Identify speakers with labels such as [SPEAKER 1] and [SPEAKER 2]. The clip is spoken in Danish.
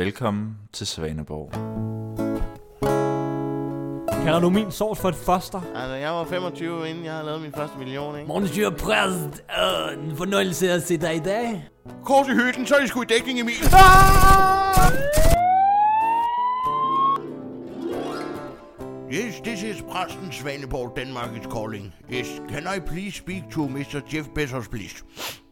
[SPEAKER 1] Velkommen til Svaneborg.
[SPEAKER 2] Kalder du min sovs for et foster?
[SPEAKER 3] Altså, jeg var 25, inden jeg havde lavet min første million, ikke?
[SPEAKER 2] Monsieur Præst, øh, en fornøjelse at se dig i dag.
[SPEAKER 3] Kors i hytten, så er I sgu i dækning, Emil. Yes, this is præsten Svaneborg, Danmarkets calling. Yes, can I please speak to Mr. Jeff Bezos, please?